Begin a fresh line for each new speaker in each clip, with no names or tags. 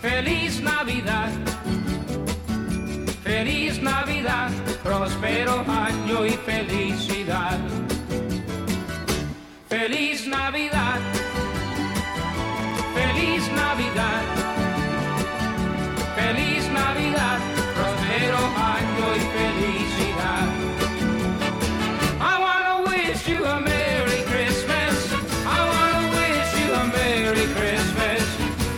Feliz Navidad, feliz Navidad, próspero año y felicidad. Feliz Navidad, feliz Navidad, feliz Navidad, próspero año y felicidad. I wanna wish you a Merry Christmas. I wanna wish you a Merry Christmas.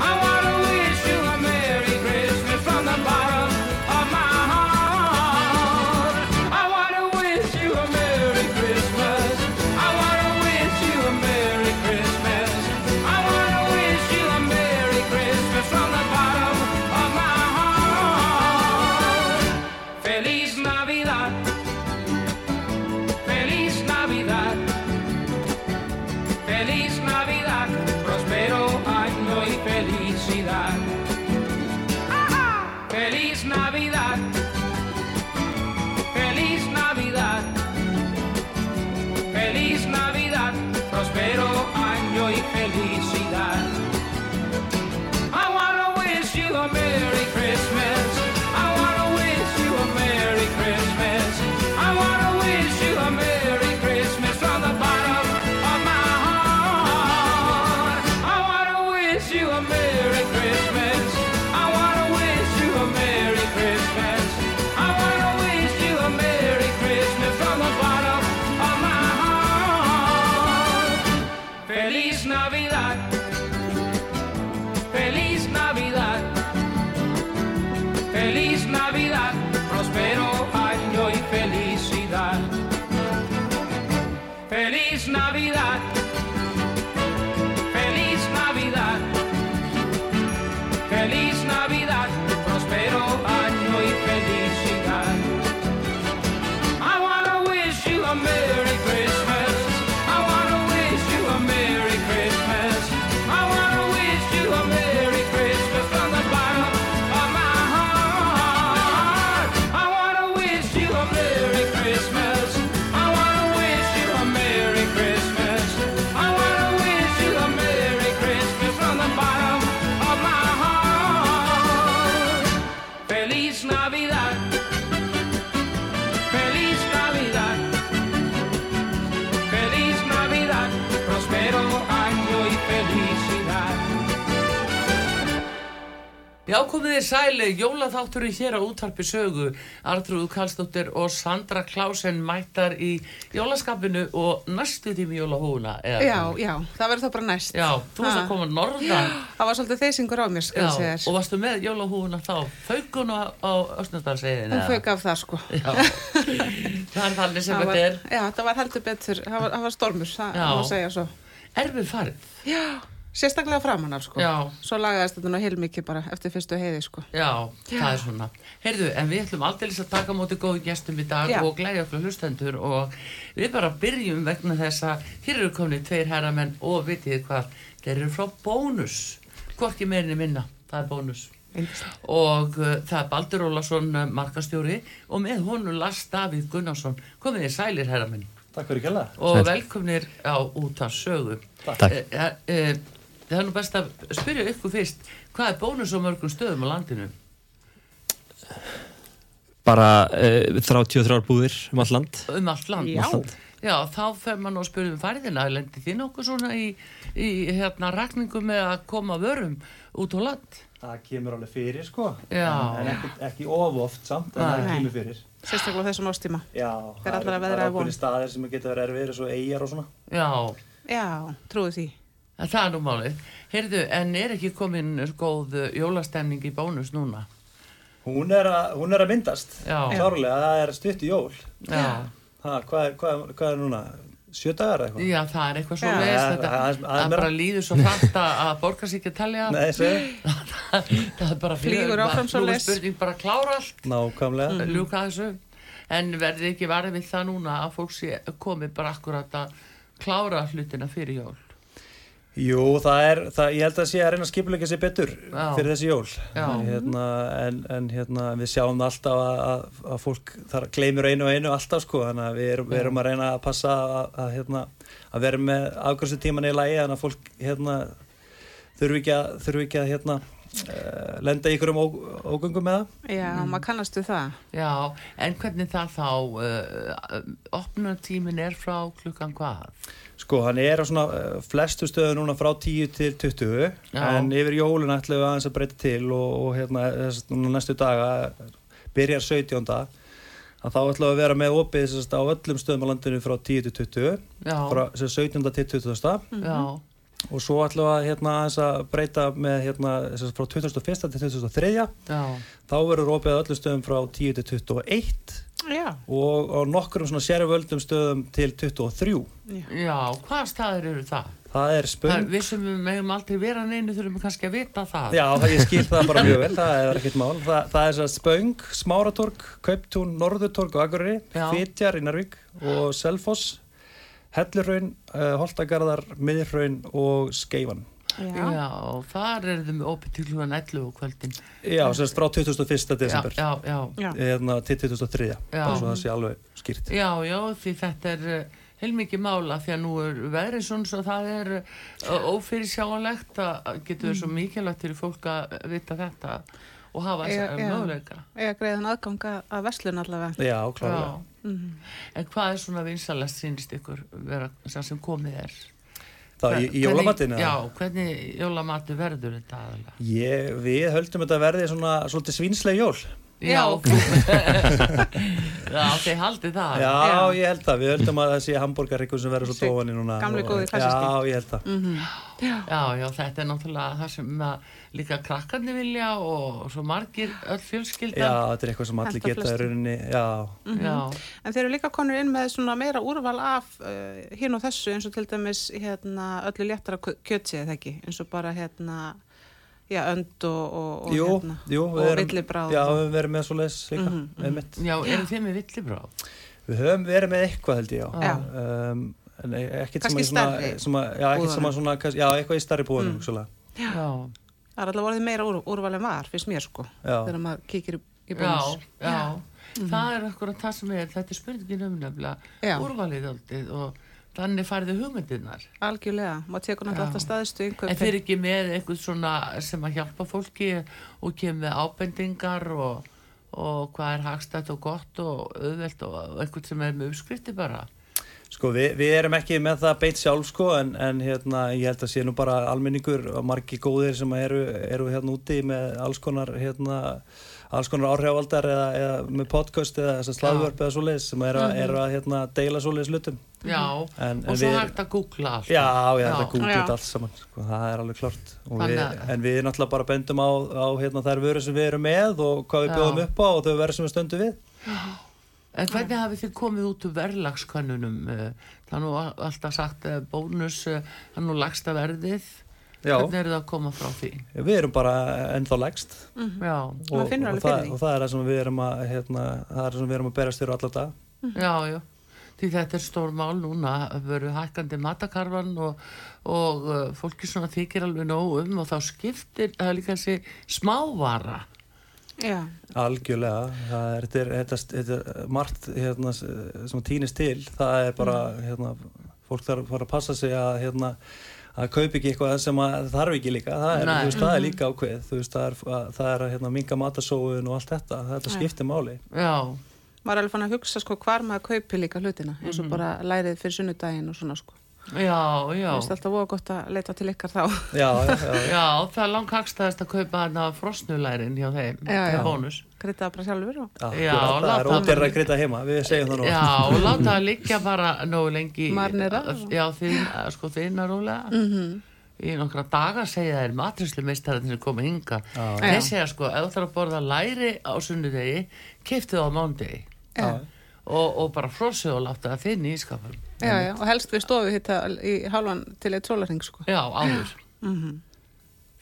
I wanna wish you a Merry Christmas from the bottom of my heart. I wanna wish you a Merry Christmas. I wanna wish you a Merry Christmas. I wanna wish you a Merry Christmas from the bottom of my heart. Feliz Navidad. Feliz Navidad, feliz Navidad, próspero año y felicidad. Feliz Navidad, feliz Navidad, feliz Navidad, próspero año y felicidad. I wanna wish you a Merry Christmas. I wanna wish you a Merry Christmas. I wanna wish you a Merry Christmas from the bottom of my heart. I wanna wish you a Merry Christmas. I wanna wish you a Merry Christmas. I wanna wish you a Merry Christmas from the bottom of my heart. Feliz Navidad. Feliz Navidad, feliz Navidad, próspero año y felicidad. Feliz Navidad, feliz Navidad, feliz Navidad, próspero año y felicidad. I wanna wish you a Merry Christmas. I wanna wish you a Merry Christmas. I wanna wish you a Merry Christmas from the bottom of my heart. I wanna wish you a Merry Christmas. I wanna wish you a Merry Christmas. I wanna wish you a Merry Christmas from the bottom of my heart. Feliz Navidad. Feliz Navidad, feliz Navidad, próspero año y felicidad.
Já, komið þið sæli, jólaþátturinn hér á útarpi sögu, Artrúð Karlsdóttir og Sandra Klásen mættar í jólaskapinu og næstu tími jólahúna. eða-
Já, já, það verður þá bara næst
Já, þú varst
Ha.
að koma norðan.
Það var svolítið þeysingur á mér, skal
Já,
ég segja
og
þér
varstu með jólahúfuna þá, faukuna á Östnardalsegiðin.
Hún fauk af það, sko
Já, það er þannig sem
Það var,
þetta er
já, það var heldur betur, það var, það var stormur, það
Já.
má segja svo
erfið farið.
Já, sérstaklega framan af, sko
Já.
Svo lagaðist þetta nú heilmikið bara eftir fyrstu heiði, sko
Já, það er svona. Heyrðu, en við ætlum aldrei að taka á móti góðu gestum í dag
Já.
og glæja okkur hlustendur og við bara byrjum vegna þess að hér eru komni tveir herramenn og vitið þið hvað, þeir eru frá bónus, hvorki meirinni minna, það er bónus.
Eindislegt.
Og uh, það er Baldur Ólason uh, markastjóri og með honum Lars Davíð Gunnarsson, komið þið sælir herramenn
Takk fyrir kjalla.
og
Sæll.
velkomnir á út af sögu.
Takk.
Eh, eh, eh, Það er nú best að spyrja ykkur fyrst, hvað er bónus á mörgum stöðum á landinu?
bara uh, 33 búðir um all land
um allt land
Já.
Allt land.
Já, þá fer mann og spurðum um færðina lendi þið nokkuð svona í, í hérna, rakningu með að koma vörum út á land
Það kemur alveg fyrir sko.
Já.
En ekki, ekki of oft samt, en það
Nei.
kemur fyrir.
Sérstaklega á þessum ástíma
Já.
allra
eru-
veðra
Það
að
eru
von.
okkur staðir sem geta verið erfiðir eins og eigjar og svona.
Já,
Já, trúið því
en það er nú málið Heyrðu, en er ekki komin góð uh, jólastemning í bónus núna?
Hún er að, hún er að myndast.
Já.
Klárlega, það er stutt í jól.
Já,
Ha, hvað, er, hvað, er, hvað er núna? Sjö dagar eða eitthvað?
já það er eitthvað svo
Já.
veist
Það-
þetta
það-
Það,
það- það-
bara líður svo hrætt að að borgar sig ekki að telja
Nei, segðu.
Það er bara
Flýgur
Nú
áfram
er
svoleiðis.
spurning bara að klára allt Mm.
Nákvæmlega.
ljúka þessu en verði ekki varðið við það núna að fólk sé komið bara akkurat að klára hlutina fyrir jól
Jú, það er, það, ég held að sé að reyna að skipuleika sér betur
Já.
fyrir þessi jól.
Já.
En Hérna, en, en hérna, við sjáum það alltaf að, að, að fólk þar gleymir einu og einu alltaf sko, þannig að við erum, við erum að reyna að passa að, að, hérna, að vera með afgjörslu tíman í lagi, þannig að fólk hérna, þurfi ekki að, þurfi ekki að hérna, uh, lenda í einhverjum ó- ógöngum með það
Já,
Mm.
maður kannast við það.
Já, en hvernig það þá, uh, opnunartímin er frá klukkan hvað?
Sko, hann er á svona eh, flestu stöðu núna frá 10 til 20
Já.
en yfir jólun ætlum við aðeins að breyta til og, og hérna, þess, núna næstu daga byrjar 17. að þá ætlum við að vera með opið sérst, á öllum stöðum á landinu frá 10 til 20
Já,
frá sem sagt, 17. til 20.
já,
og svo ætlum við að, hérna, aðeins að breyta með hérna, sem sagt, frá 21. til 23.
já,
þá verður opið á öllum stöðum frá 10 til 21
Já,
og á nokkrum svona sérvöldum stöðum til 23.
já.
já, hvaða staðir eru það?
Það er spöng
það er- við sem megum aldrei vera neinu þurfum kannski að vita það.
Já, það, ég skil það bara mjög vel, það er ekkert mál. Þa, það er svo Spöng, Smáratorg, Kauptún, Norðutorg og Akureyri,
Já.
Fitjar í Narvík og Selfoss, Hellurraun, uh, Holtagarðar, Miðurraun og Skeivan.
Já.
Já, þar eru þau með opið til hlugan 11 og kvöldin.
Já, sérst frá 21. desember,
Já, já, já.
Já.
hérna til 2003,
Já.
bara svo það sé alveg skýrt.
Já, já, því þetta er uh, heilmikið mála því að nú er veðrið svona svo það er uh, ófyrirsjáanlegt að að getur verið svo
Mm.
mikilvægt fyrir fólk að vita þetta og hafa
Já,
þessa
já.
möguleika.
Ég greiðan aðganga að verslun allavega. Mhm.
Já,
Já.
klálega.
En hvað er svona vinsalast sínist ykkur vera, sem, sem komið er?
Það í, í
Hvernig-
jólamatinu?
Já, hvernig jólamatu verður þetta aðalega?
Ég, við höldum þetta verði svona svolítið svínsleg jól.
Já.
já, þeir haldið það.
Já,
Já.
ég held það. Við höldum að það sé hambúrgarrikkur sem verður
Þessi
svolítið ofan í núna.
gamli
Og-
góði klassiski.
Já, ég held það.
Já, já, þetta er náttúrulega það sem að líka krakkarnir vilja og svo margir öll
Já,
fjölskyldan.
þetta er eitthvað sem allir
Hentar
geta í
flestum.
rauninni, já,
Já,
En þeir eru líka konur inn með svona meira úrval af uh, hinn og þessu eins og til dæmis hérna, öllu léttara kö- kjötsi eða ekki eins og bara hérna, já, önd og, og, og,
jú,
hérna,
jú, við
og Mhm,
erum-
villibráð.
Já, við höfum verið með svo leis líka, mm
já eru þið með villibráð?
Við höfum verið með eitthvað held ég,
Já.
já. Um, en e- ekkert sem
Kannski
er svona,
stærri
sem að, já, ekkert sem
búðunum.
að svona, kannski- já, eitthvað í starri búinu, mm.
Já,
Það er alltaf orðið meira úr, úrval en var, finnst mér sko,
Já.
þegar maður kíkir í, í
já,
bónus.
já. Það er okkur að það sem er, þetta er spurningin um nefnilega
Já.
úrvalið aldrei og þannig færðu hugmyndirnar.
Algjörlega, maður tekur náttúrulega alltaf staðistu
En þeir
yngöp.
eru ekki með eitthvað svona sem að hjálpa fólki og kemur með ábendingar og, og hvað er hagstætt og gott og auðvelt og eitthvað sem er með uppskrifti bara.
Sko, við, við erum ekki með það beitt sjálf, sko, en, en hérna, ég held að sé nú bara almenningur og margi góðir sem eru, eru hérna úti með alls konar, hérna, alls konar áhrifaldar eða, eða með podcast eða þess að slagvörp eða svo leis sem eru að,
Mhm.
eru að hérna, deila svo leis lutum.
Já,
En- en
og svo
við-
hægt að googla allt.
Já, já, þetta
Já.
googlit allt saman sko, það er alveg klart Og við,
Þannig að-
en við náttúrulega bara bendum á, á hérna, þær vörur sem við erum með og hvað við
Já.
bjóðum upp á og þau verður sem við stöndum við
En hvernig hafið þið komið út úr verðlagskönnunum? Eh, Það er nú a- alltaf sagt eh, bónus, eh, það er nú lagsta verðið.
Já.
Hvernig eru það að koma frá því?
við erum bara ennþá lægst og,
Mhm.
Já,
Mm, Maður finnur
og,
alveg fyrir
það,
því.
og það er það sem við erum að hérna, það er það sem við erum að berast fyrir allar dag
Mhm.
já, já. Því þetta er stór mál núna, það veru hækkandi matakarfan og, og eh, fólki svona þykir alveg nóg um og þá skiptir, það er líka þessi smávara.
Já,
algjörlega, það er, þetta, er, þetta, þetta er margt hérna, sem týnist til, það er bara
Mm.
hérna, fólk þarf bara að passa sig að hérna, að kaupa ekki eitthvað sem að þarf ekki líka, það er,
Nei. Mm-hmm.
þú veist, það er líka ákveð þú veist, það er, að, það er að hérna, minga matasóun og allt þetta, þetta skiptir máli
Já,
maður er alveg fann að hugsa sko hvar maður kaupi líka hlutina eins og bara lærið fyrir sunnudaginn og svona sko.
Mhm. já, já.
Það er alltaf voða gott að leita til ykkar þá.
já, já, já,
Já, það er langhagstæðist að kaupa hana frosnulærin hjá þeim,
Já,
það
já.
er bónus.
Krita bara sjálfur og
já,
Já,
það er
láta-
ódýrra að grita heima við segjum það nú
Já, og láta það liggja bara nógu lengi
Marinera.
Já, þín, sko þína rólega Í nokkra daga segja þeir matrislu meistarinn sem koma hinga Þeir segja sko, ef þú þarf að borða læri á sunnudegi Kiftu það á mándegi
Já.
og, og bara frossu og láta það þinn í ískapum
Já, já, og helst við stofu hitta í halvan til eitt sólarhing, sko.
Já, áður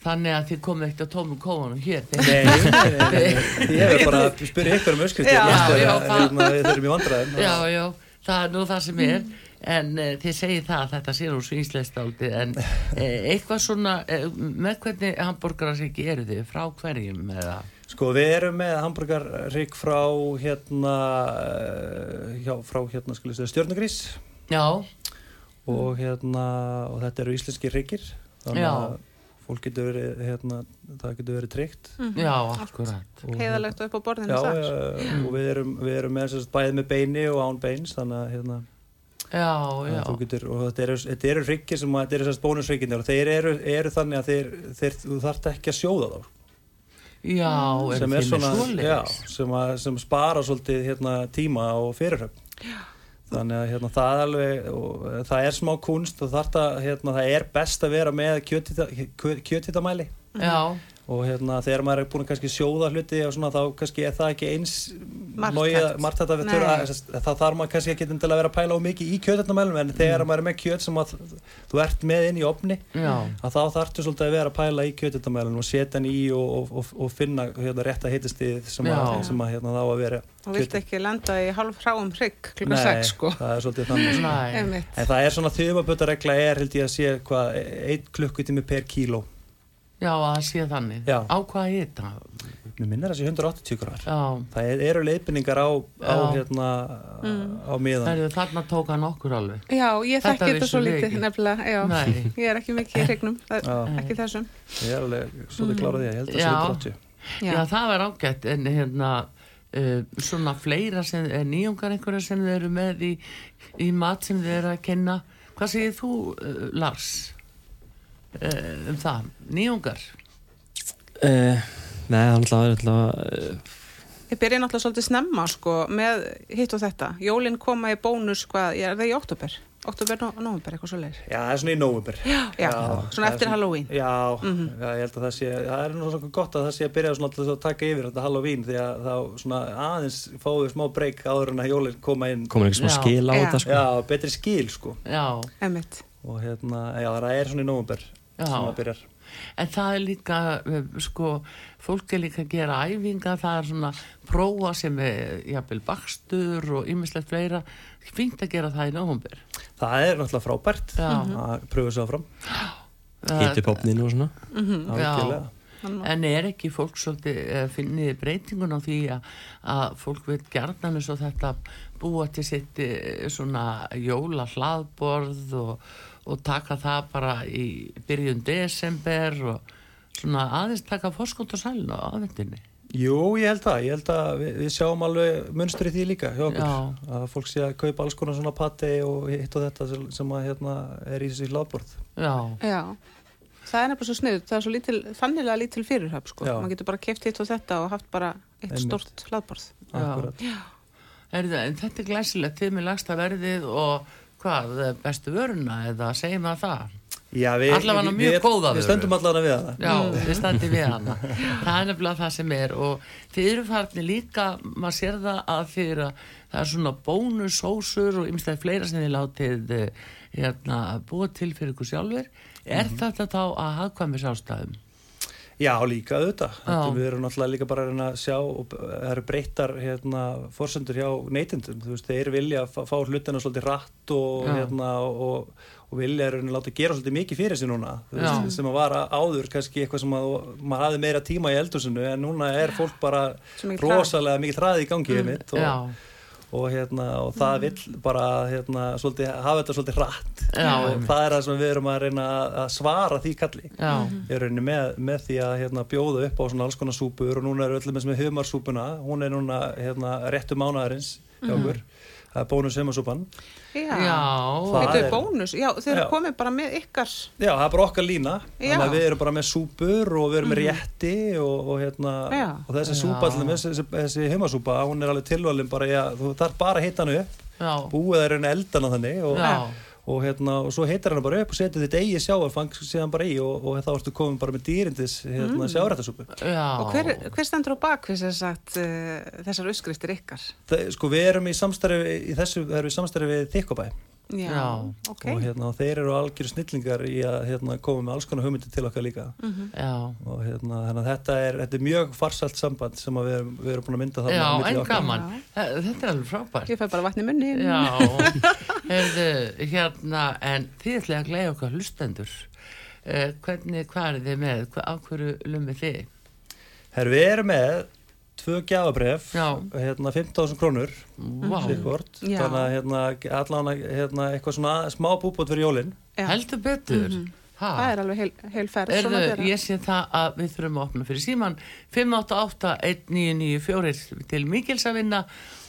Þannig að þið komið ekkert að tómum kóðunum hér þegar
Nei, nei, nei, nei, nei, ég hefur bara að spyrja ykkur um öskriti
Já,
já, það-
við þurfum í vandræðum
Já, já, það er nú það sem er en uh, þið segið það að þetta sé nú svínsleist áldi en uh, eitthvað svona, uh, með hvernig hambúrgarar sig eru þið, frá hverjum eða?
Sko við erum með hambúrgarrygg frá hérna, eh, já, frá hérna skilur við stjórnugrís
Já,
og hérna, og þetta eru íslenski ryggir.
Mm.
Þannig
Já.
að fólk getur verið, hérna, það getur verið tryggt
já,
Mhm.
akkurat
og,
heiðalegt og upp á
já,
borðinu
já,
þar.
og við erum, við erum með, sérst, bæði með beini og án beins þannig að hérna,
já,
þannig
já,
að þú getur, og þetta eru, þetta eru hryggir sem að þetta eru sérst bónushrygginir og þeir eru, eru þannig að þeir, þeir, þú þarft ekki að sjóða þá sko.
já eru
Mm. sem
þið
er
með
svona já,
svoleiðis?
sem, að, sem spara svolítið hérna, tíma og fyrirhöfn þannig að hérna, það alveg og, eh, það er smá kunst og þarft að hérna, það er best að vera með kjötitamæli
já,
og hérna, þegar maður er búin að kannski sjóða hluti og svona, þá kannski er það ekki eins
Marktækt.
nógið- marktækt að við
Nei.
þurfa að- þess- þá þarf maður kannski ekki til að vera að pæla of mikið í kjötitamælum en þegar maður er með kjöt sem að, þú ert með inn í opni
já,
að þá þarftu svolítið að vera að pæla í kjötitamælunum og setja hann í og, og, og, og finna hérna, rétt að hittistið sem, að,
Já.
sem að, hérna, þá að vera
Og vilt ekki landa í hálf hráum hrygg klukka
Nei,
6 sko.
það er svolítið þannig sko.
næ
Einmitt.
en það er svona þjófabötaregla er held ég að sé hvað, einn klukkutími per kíló
já, að það sé þannig
Já.
á hvað er þetta
mér minnir þessi 180 gráðar
já,
það er- eru leiðbynningar á, á,
Já.
hérna,
Mm.
á miðan
Herðu, þarna tók hann okkur alveg
Já, ég
Þetta
þekki þetta
vissi
svo
ég
lítið
ekki.
nefnilega, já,
Nei.
ég er ekki mikið í hrygnum, það-
Já.
ekki þessum.
ég er alveg svolítið klárað því ég held að
Já.
sé 180
já,
Já.
það var ágætt en hérna uh, svona fleira sem, eh, nýjungar einhverja sem þið eru með í, í mat sem þið eru að kenna hvað segir þú uh, Lars uh, um það nýjungar
Uh, nei, það er náttúrulega- náttúrulega uh,
Ég byrja náttúrulega svolítið snemma sko með hitt og þetta. Jólin koma í bónus hvað, er það í oktober? Oktober, no, november, eitthvað svo leir.
já, það er svona í nóvubur já,
Já,
það
svona
er
eftir Halloween.
Já, já, ég held að það sé, það er nú svona gott að það sé að byrja svona alltaf að taka yfir þetta Halloween því að þá svona aðeins fáum við smá breyk áður en að jólinn koma inn.
komur ekki smá
Já.
skil á
Já.
þetta sko.
Já, betri skil sko
já,
Emmitt.
og hérna, já það er svona í nóvumber
Já.
sem það byrjar.
En það er líka, eh, sko, fólk er líka að gera æfinga, það er svona prófa sem er, jafnvel, bakstur og ýmislegt fleira. Fínt að gera það í nóhumbir.
Það er náttúrulega frábært
Já.
að pröfa sig áfram,
Hýtti popninu og svona
Mhm.
algjörlega.
En er ekki fólk svolítið, eh, finnið breytingun á því að, að fólk vil gerðan eins og þetta búa til sitt eh, svona jóla hlaðborð og, og taka það bara í byrjun desember og svona aðeins taka fórskótt og sælun á aðvendinni.
Jú, ég held það, ég held að við, við sjáum alveg munstri því líka hjá okkur
Já.
að fólk sé að kaupa alls konar svona pati og hitt og þetta sem- sem að hérna er í þessi hláðborð.
Já.
Já. Það er nefnilega svo sniður, það er svo lítil, þannilega lítil fyrirhöf sko.
Já.
Man getur bara keft hitt og þetta og haft bara eitt
Einmitt.
stórt hlaðborð.
Já.
Akkurat.
Erðu, en þetta er glæsilegt, þið með lagsta verðið og hvað, bestu vöruna eða segjum að það?
Já, við,
Allavega
við-
mjög
við-
góða
Við
vöru.
stöndum allavega við það.
Já, þið standi við hana. Það er nefnilega það sem er og þið eru farni líka, maður sér það að þið eru að það er svona bónusósur og ymstæði fleira sem þið látið eh, hérna, búa til fyrir ykkur sjálfur. Er þetta þá að hagkvæmis ástæðum?
Já, líka auðvitað. Þetta,
Já.
við erum náttúrulega líka bara að reyna að sjá og b- það eru breyttar hérna, forsendur hjá neytendum. Þú veist, þeir vilja að fá- fá hlutina svolítið rætt og,
Já.
hérna, og, og vilja að láta gera svolítið mikið fyrir sér núna. Þú
Já.
Veist, sem að vara áður kannski eitthvað sem að þú- maður hafði meira tíma í eldhúsinu en núna er fólk bara
Svo mikill hraði.
rosalega mikið hraði í gangi mm. mitt
Já,
og, og, hérna, og það vill bara hérna, svolítið, hafa þetta svolítið rætt.
Já,
og
einmitt.
það er það sem við erum að reyna að- að svara því kalli
já,
í rauninni með, með því að hérna, bjóða upp á svona alls konar súpur og núna er öllum eins með humarsúpuna, hún er núna hérna, réttu mánaðarins hjá okkur það er bónus humarsúpan
Já.
já,
Það
Þetta
er-
er bónus, já, þeir
Já.
eru komið bara með ykkar.
Já, það er bara okkar lína,
Já.
þannig að við erum bara með súpur og við erum með rétti og, og, hérna,
Já.
og þessi súpa, allir, þessi, þessi, þessi humarsúpa, hún er alveg tilvalin bara, já, þú þarf bara að hita hann upp,
já,
búið það í rauninni eldana þannig og,
Já.
og, hérna, og svo heitar hann bara upp og setur þitt eigi sjáarfang síðan bara í og, og þá ertu komin bara með dýrindis hérna, mm. sjárættasúpu.
já.
Og hver, hver stendur á bakvið sem sagt uh, þessar uppskriftir ykkar?
Þe- sko við erum í samstarfi í þessu erum við í samstarfi við Þykkobæ
Já,
Já.
ok.
og hérna, og þeir eru algjör snillingar í að hérna, koma með alls konar hugmyndir til okkar líka
Mm. Já,
og hérna, þannig að þetta er, þetta er mjög farsalt samband sem að við erum, við erum búin að mynda
já,
þannig
en gaman. Þe- Þetta er alveg frábært.
Ég fæ bara vatni munni.
Já, heyrðu, hérna, en þið ætlaði að glega okkar hlustendur. Uh, hvernig, hvað er þið með? Hva, á hverju lumið þið?
Her, við erum með tvö gjafabref
Já.
hérna, 15.000 krónur
Vá,
sikkvort,
Já.
þannig að hérna, allan hérna, eitthvað svona smá búbót fyrir jólin
Já.
heldur betur. Mm Ha?
það er alveg heil, heil ferð svona
Erðu,
þeirra.
ég sé það að við þurfum að opna fyrir síman 588-1994 til Mikils að vinna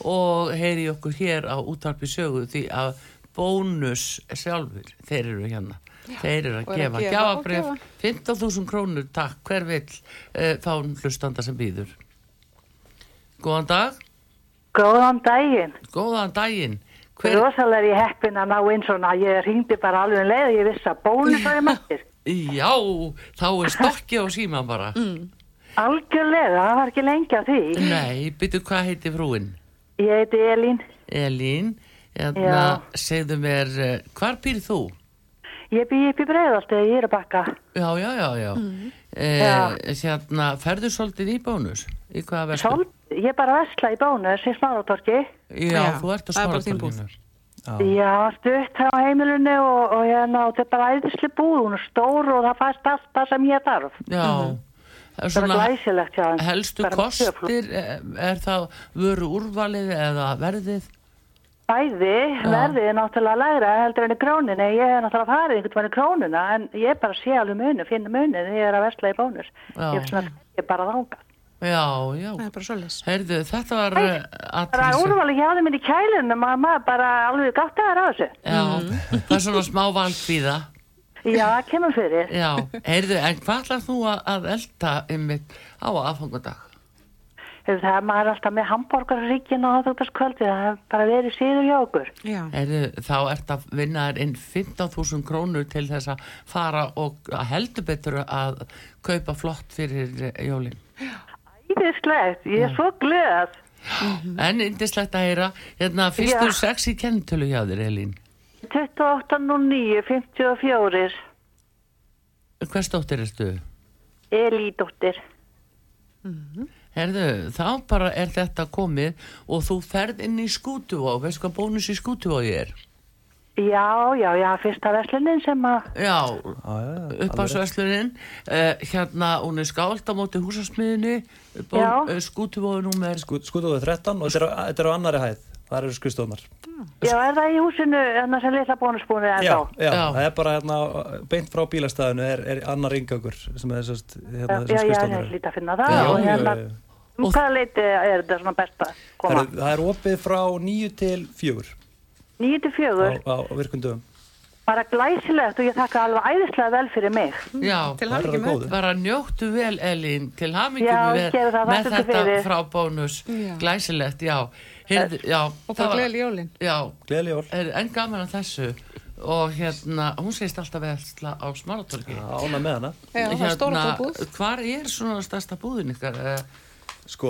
og heyri okkur hér á útarpi sögu því að bónus sjálfur, þeir eru hérna þeir eru að
og eru að
gefa
gefa og
gjafabref
gefa.
15.000 krónur, takk, hver vill uh, þá hlustanda sem býður Góðan dag
Góðan daginn.
Góðan daginn
Hver...
hver,
Rosalega er ég heppin að ná inn svona. Ég ringdi bara alveg um leið og ég vissi að bónu það er mættir.
Já, þá er stokki á síman bara
Algjörlega, það var ekki lengi að því.
Nei, byrju hvað heiti frúin?
Ég heiti Elín.
Elín, hérna,
Já.
segðu mér, eh, hvar býr þú?
Ég býi upp í breiðalt eða ég er að bakka.
Já, já, já, já. Eh,
Mm. Já.
Hérna, ferðu svolítið í bónus? Í hvaða verður?
Sól, ég er bara að vesla í bónus í smáratorki.
Já,
Já,
þú ert að
það er bara
svara
þín búð.
Já, stutt á heimilinu og, og hérna, og þetta er bara æðisli búð. Hún er stór og það fæst allt það sem ég þarf.
Já, það er
Það er
svona
Mhm. glæsilegt hjá þeim.
helstu
Bara mjög flott.
kostir, eh, er það vöru úrvalið eða verðið?
Bæði verðið er náttúrulega lægra heldur enn í króninu. Ég hef náttúrulega farið einhvern veginn í krónuna en ég bara sé alveg munu, finn munu þegar ég er að versla í bónus.
Já.
Ég er svona, ég er bara þánga.
Já, já.
það er bara svolítið
Heyrðu, þetta var
Hæ,
eh,
Bara
athyglisvert.
úrvalið hjá þeim inn í kælunum að maður bara alveg gátt að á þessu.
Já,
Mm.
það er svona smá valkvíða.
Já, það kemur fyrir.
Já, heyrðu, en hvað ætlar þú að- að elda einmitt á aðfangadag?
Ef Það er maður er alltaf með hambúrgarríkin og aðvöldskvöldi, það er bara verið síður hjá okkur.
já,
Heyrðu, þá ert að vinna þér inn 15.000 krónur til þess að fara og að heldur betur að kaupa flott fyrir eh, jólin.
Íðislegt, ég er svo glöð.
En indislegt að heyra, hérna fyrstu
Já.
sex í kennitölu hjá þér, Elín.
28.09, 54,
Hvers dóttir ertu?
elídóttir.
Herðu, þá bara er þetta komið og þú ferð inn í skútuvá, veist hvað bónus í skútuvá ég er?
Já, já, já, fyrsta verslunin sem að
Já,
já, já, alveg.
uppásverslunin, uh, hérna, hún er skáld á móti húsasmiðinni,
Já.
skútuvóðu númer
Skú- Skútuðu 13 og þetta er, á- þetta er á annari hæð Það eru skrifstofnar
Já, er það í húsinu en sem litla bónusbúinu en
já,
þá?
já,
Já.
það er bara hérna, beint frá bílastæðinu er, er annar yngangur sem er sérst, hérna,
Já,
þessar
já,
skrifstofnar
ég
eru.
hlýta að finna það
Já,
og
já,
hérna,
já, já.
um hvaða leiti er þetta svona best að
Það
koma?
er, það er opið frá 9 til 4
9 til
á,
4,
á virkundum
bara glæsilegt og ég þakka alveg æðislega vel fyrir mig.
Já,
til
Það
hann
er
ekki
það
með
góðu
bara njóttu vel Elín til
Já,
hamingjum
gerðu
með,
það,
með
þakka
þetta
fyrir.
frá bónus
Já.
glæsilegt, já, Heyrðu, já
og bara gleyli jólin
já,
Gleðli jól
er enn gaman að þessu og hérna, hún segist alltaf veðsla á smáratorki
Ána með hana
já, það
hérna-
er stóra búð
hvar er svona stærsta búðin ykkar? Eh,
Sko,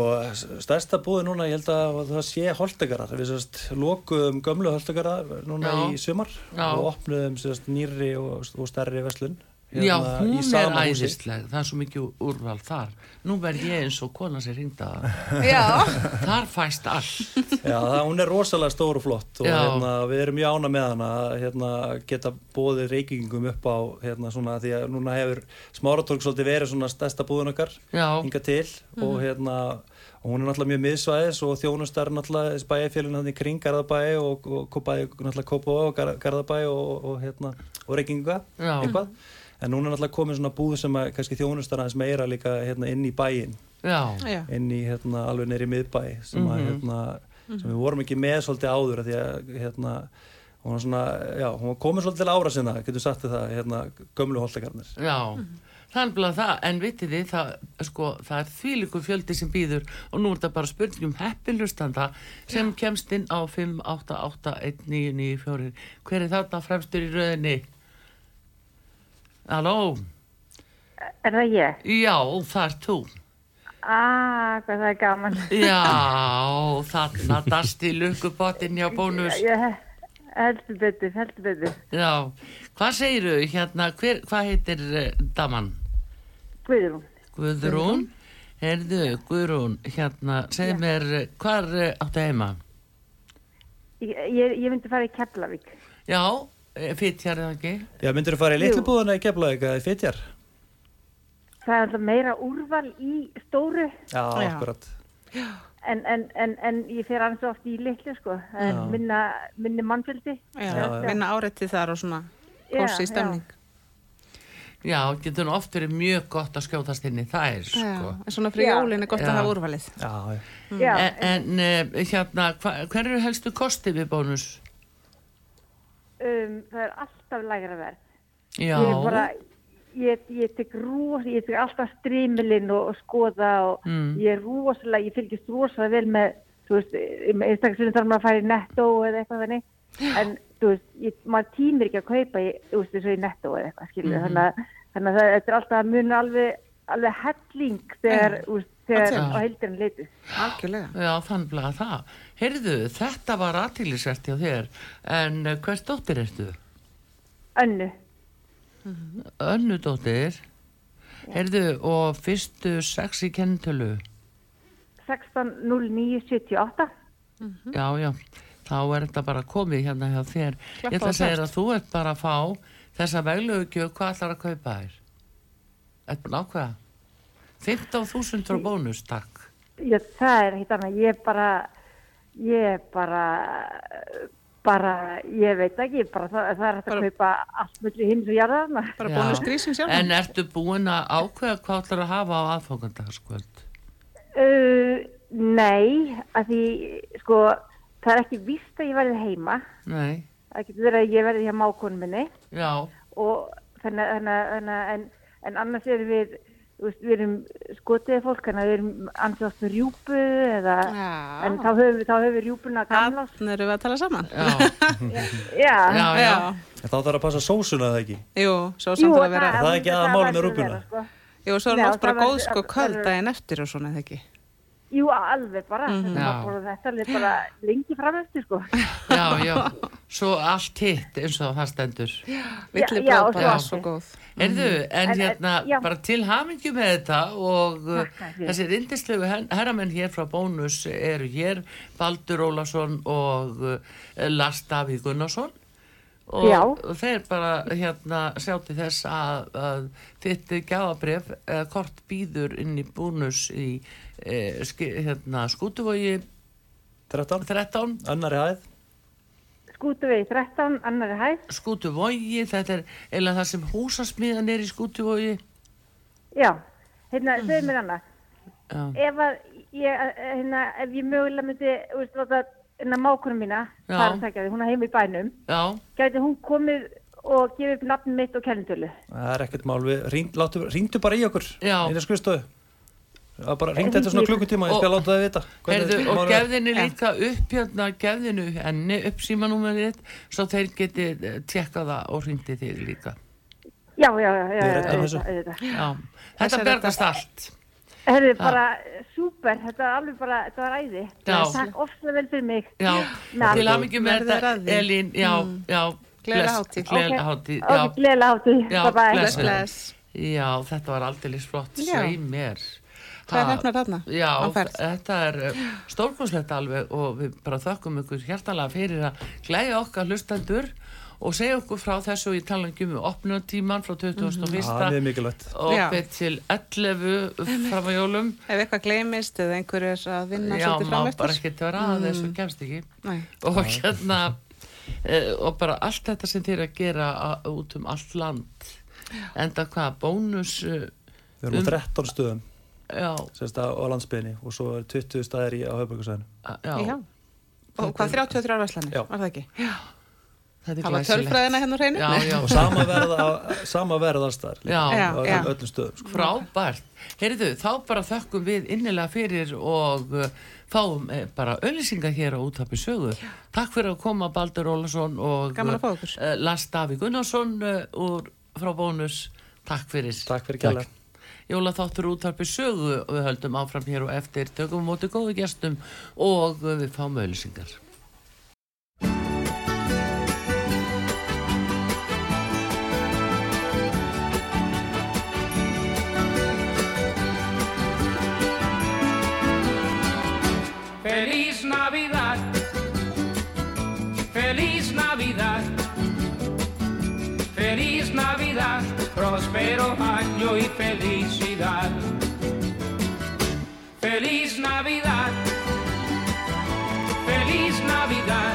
stærsta búið núna, ég held að það sé holdagarar. Við sérst lokuðum gömlu holdagarar núna
Já.
í sumar
Já.
og opnuðum sérst nýrri og, og stærri veslun.
Já, hún er
húsi.
æðisleg, það er svo mikið úrval þar. Nú verð ég eins og kona sér hringda.
já,
Þar fæst allt.
Já, það, hún er rosalega stór og flott og
Já.
hérna, við erum mjög ána með hana að hérna, geta bóðið reykingum upp á hérna, svona, því að núna hefur Smáratorg svolítið verið svona stærsta búðun okkar
Já. Mhm.
hinga til og hérna og hún er náttúrulega mjög miðsvæðis og þjónustar náttúrulega bæjarfélun hann í kring Garðabæi og, og, og bæði náttúrulega Kópó og Gar- Garðabæi og, og, og hérna og reykinga
Já.
eitthvað en núna er náttúrulega komin svona búð sem að kannski þjónustar aðeins meira líka hérna inn í bæinn
Já,
já,
inn í hérna, alveg neyri miðbæ sem, að, hérna, sem við vorum ekki með svolítið áður af því að hérna, hún var svona, já, hún var komin svolítið til ára sinna, getur sagt þér það, hérna, gömlu holdakarnir.
Já, það er alveg það, en vitið þið, það, sko, það er þvílíkur fjöldi sem býður og nú er þetta bara spurning um heppilustanda sem kemst inn á 5881994. Hver er þetta fremstur í röðinni? Halló?
Er það ég?
Já, það er þú.
Ah, hvað það er gaman.
Já, þarna dasti lukkupotinn hjá bónus.
Ég, heldur betur, heldur betur.
Já, hvað segiru hérna, hver, hvað heitir uh, daman?
Guðrún,
Guðrún. Herðu, Guðrún, hérna, segð mér, eh, hvar eh, áttu heima?
ég, ég, ég myndi fara í Keflavík.
Já, eh, fitjar eða ekki?
Já, myndir þú fara í litlu búðuna í Keflavík eða í Fitjar?
Það er alltaf meira úrval í stóru,
Já,
Já.
akkurat.
en, en, en, en ég fer annars oft í litlu, sko. En
Já.
minna, minni mannfjöldi.
já, vinna árætti þar og svona
Já,
kósi í stemning
já, getur nú oft verið mjög gott að skjótast inn í þær
Já,
sko.
en svona fyrir
Já.
jólin er gott
Já.
að hafa úrvalið.
Já, já.
Já,
En, en eh, hérna, hva, hver eru helstu kosti við bónus?
um, það er alltaf lægra verð.
Já,
Ég er bara, ég, ég tek ros, ég tek alltaf strímilinn og, og skoða og
Mm.
ég er rosalega, ég fylgist rosalega vel með, þú veist, um, einstaklega þarf maður að fara í netto eða eitthvað þannig, en þú veist, ég, maður tímir ekki að kaupa, í, þú veist, þessu í netto eða eitthvað, skilur, þannig,
Mhm.
að, þannig að það- þetta er alltaf að muna alveg, alveg helling þegar, þú veist, þegar
Absolutt.
á heildurinn leitur.
Algjörlega.
já, þannig að það. Heyrðu, þetta var aðtýlisvert hjá þér, en eh, hvers dóttir ertu?
Önnu,
Önnu dóttir, heyrðu, og fyrstu sex í kennitölu?
16.09.78,
Já, já, þá er þetta bara komið hérna hjá þér.
Klappa
Ég ætla að
og
segja
klárt.
þér að þú ert bara að fá þessa veglugjöf, hvað ætlar að kaupa þér? Þetta er nákvæða. 15.000 frá bónus, takk.
Já, það er hitt annað, ég bara, ég bara, bara, ég veit ekki, bara, það, það er hægt að
Bara-
kaupa allt möllu hins og jarðarna.
Bara
Já.
bónus grísin sjálf.
En ertu búin að ákveða hvað ætlar að hafa á aðfókandagaskvöld?
Uh, nei, að því, sko, það er ekki víst að ég verði heima,
Nei,
það getur verið að ég verði hjá mákonu minni
já,
og þannig, þannig, þannig, en, en annars erum við, þú veist, við erum skotiði fólk, þannig að við erum ansvátt með rjúpu eða,
Já.
en þá höfum, við- þá höfum við rjúpuna gamla,
Þannig erum við að tala saman.
já, já, já.
En þá þarf að passa sósuna eða ekki
Jú, svo samt að vera.
það- er ekki aðalmálið með rjúpuna.
sko.
Jú, svo er
Já,
nátt bara
það var-
góð sko
það-
kvöld
það-
daginn eftir og svona, eða ekki?
Jú, alveg bara, mm
Já.
-hmm. þetta er bara lengi fram eftir sko.
já, já. Svo allt hitt eins og það stendur.
Villi
já,
blóð
og
bara
svo-
svo góð.
Erðu, en,
Mhm. En- en-
hérna,
já.
bara til hamingju með þetta og uh,
Takk fyrir.
þessir indislegu her herramenn hér frá Bónus eru hér, Baldur Ólason og uh, Lars Davíð Gunnarsson og
Já.
þeir bara hérna sjátti þess að, að þitt gjáðabref eða kort býður inn í Bónus í eh, ski, hérna, skútuvogi
13,
13
annari hæð
Skútu við 13, annari hæð,
skútuvogi, þetta er eða það sem húsasmiðan er í skútuvogi
já, hérna, mm.
Mhm.
segðu mér annað,
Já,
ef, að ég, hérna, ef ég mögulega myndi, þú veist, láta, hérna, mákunum mína,
Já.
það er að takja því, hún er heima í bænum,
já,
gæti hún komið og gefið upp nafn mitt og kennitölu.
Það er ekkert mál, við ringdu, láttu, ringdu bara í okkur
Já.
Í skrifstofu Það bara ringdu þetta svona klukkutíma, ég skal
Og-
láta það vita hvernig
Herðu, og
málið er.
gefðinu líka upp hérna, gefðinu henni upp símanúmerið svo þeir geti eh, tjekkað það og hringdi þig líka.
Já, já, já, já,
Við reddum þessu.
auðvitað, auðvitað.
Já,
Þessi
þetta
er
bergast allt.
Herðu, bara, súper, þetta var alveg bara, þetta var æði.
Já.
Takk ofslega vel fyrir mig.
Já,
Nei.
til hafingi með
Verður
þetta,
að því. Mm.
Elín, já, já.
Gleðilega
bless,
hátíð.
Gleðilega
Ok.
hátíð,
Ok,
já.
gleðilega hátíð.
Já,
Bye bye.
bless.
Bless, bless.
Já, þetta var aldrei flott,
Já.
svei mér.
Hvað er
Ha,
hefnar þarna?
Já,
Á ferð.
þetta er stórkoslegt alveg og við bara þökkum ykkur hjertalega fyrir að glæja okkar hlustendur og segja okkur frá þessu og ég tala ekki um opnutíman
Mhm.
frá 2001.
Já, mjög mikilvægt
og
Já.
beint til 11 fram að jólum.
Ef eitthvað gleymist eða einhverju er að vinna
Já,
svolítið fram
maður bara
eftir.
ekkert vera að þessu kemst ekki.
Nei.
Og hérna, eh, og bara allt þetta sem þeir eru að gera a- út um allt land. Enda hvað, bónus, eh,
Við erum á 13 stöðum
já,
sérst, á á landsbyðinni og svo er 20 staðir í, á höfbökkusæðinu
a- já,
Já. Og hvað, 33
Já.
verslanir, var það ekki?
þetta er
Það var
glæsilegt.
tölfræðina hérna á hreinu?
Já, já,
og sama verð, á, sama verð allstaðar
já,
Já.
á öllum, öllum stöðum sko.
frábært. Heyrðu, þá bara þökkum við innilega fyrir og uh, fáum eh, bara öllisinga hér á útappi sögu. Takk fyrir að koma Baldur Ólason og
Gaman að fá ykkur.
eh, Lars Daví Gunnarsson uh, úr, frá Bónus. Takk fyrir.
Takk fyrir kjærlega
Jóla þáttur útarpi sögu og við höldum áfram hér og eftir tökum á móti góðu gestum og uh, við fáum öllisingar.
Feliz Navidad. Feliz Navidad. Feliz Navidad. Prospero año y felicidad. Feliz Navidad. Feliz Navidad.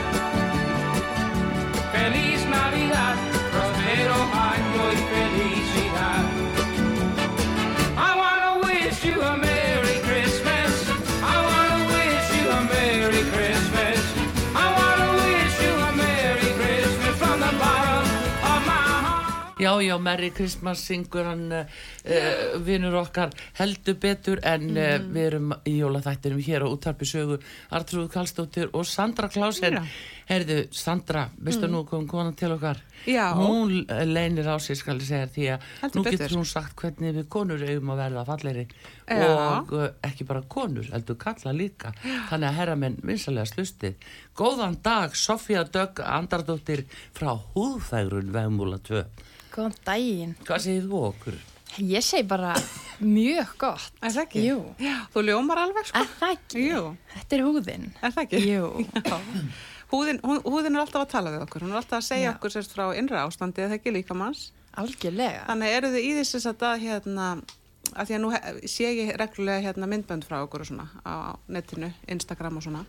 Feliz Navidad. Prospero año y felicidad.
já, já, Merry Christmas syngur hann uh, vinnur okkar heldur betur en uh,
Mhm.
við erum í jólaþættinum hér á útarpi sögu Artrúð Kallstóttir og Sandra Klausen
Já. Mhm.
Herðu, Sandra, veistu nú kom konan til okkar
Já.
Hún eh, leynir á sér, skal ég segja þér, því að
Heldur
nú getur
betur.
hún sagt hvernig við konur eigum að verða falleri
Já.
og uh, ekki bara konur, heldur kalla líka þannig að herramenn vinsalega slustið Góðan dag, Sofía Dögg Andardóttir frá húðfægrun vegmúla 2
Góðan daginn.
Hvað segir þú okkur?
Ég segi bara mjög gott.
Er það ekki?
Jú.
Já, þú ljómar alveg sko.
Er það ekki?
Jú,
Þetta er húðin.
er það ekki?
Jú.
Já. Húðin, hú, húðin er alltaf að tala við okkur, hún er alltaf að segja
Já.
okkur sérst frá innra ástandi eða ekki líkamanns.
Algjörlega.
Þannig eru þið í þessi satt að hérna, að því að nú he- sé ég reglulega hérna myndbönd frá okkur og svona á netinu, Instagram og svona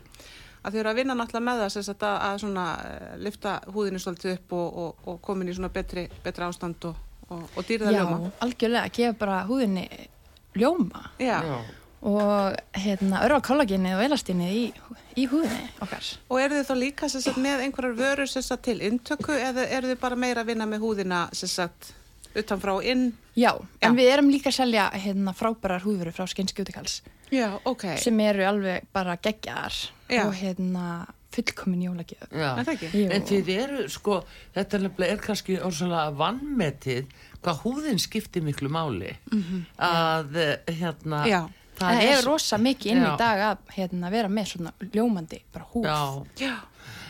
að þið eru að vinna náttúrulega með það sem sagt að, að svona eh, lyfta húðinu svolítið upp og, og, og komin í svona betri, betri ástand og, og, og dýrða
Já,
ljóma.
algjörlega. Gefa bara húðinni ljóma
Já.
og hérna, örfa kollagenið og elastinið í, í húðinni okkar.
Og eru þið þá líka sem sagt með einhverjar vörur sem sagt til inntöku eða eru þið bara meira að vinna með húðina sem sagt utanfrá og inn?
Já, en
Já.
við erum líka að selja hérna, frábærar húðveru frá Skinskjótikals
Já, ok.
sem eru alveg bara geggjar
Já.
og hérna, fullkomin jólagjöf.
Já.
Er það ekki?
Jú.
En þið eru, sko, þetta er nefnilega er kannski orðsvölega vannmetið hvað húðin skiptir miklu máli að, eh, hérna
Mhm. Já.
Það,
er
er
svo-
rosa mikið inn í
Já.
dag að hérna, vera með svona ljómandi bara húð.
Já,
Já.